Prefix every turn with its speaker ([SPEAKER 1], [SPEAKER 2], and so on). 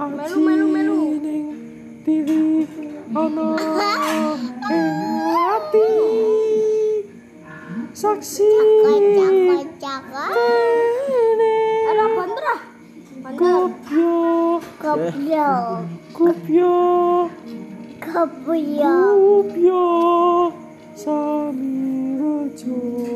[SPEAKER 1] Oh, Melu melu melu.
[SPEAKER 2] Diri ono ing ati saksi
[SPEAKER 1] Kocak kocak.
[SPEAKER 2] kene
[SPEAKER 1] Ada banter ah. Banter.
[SPEAKER 2] Kupyo,
[SPEAKER 1] Kopyo.
[SPEAKER 2] kupyo,
[SPEAKER 1] Kopyo.
[SPEAKER 2] kupyo, sami rojo.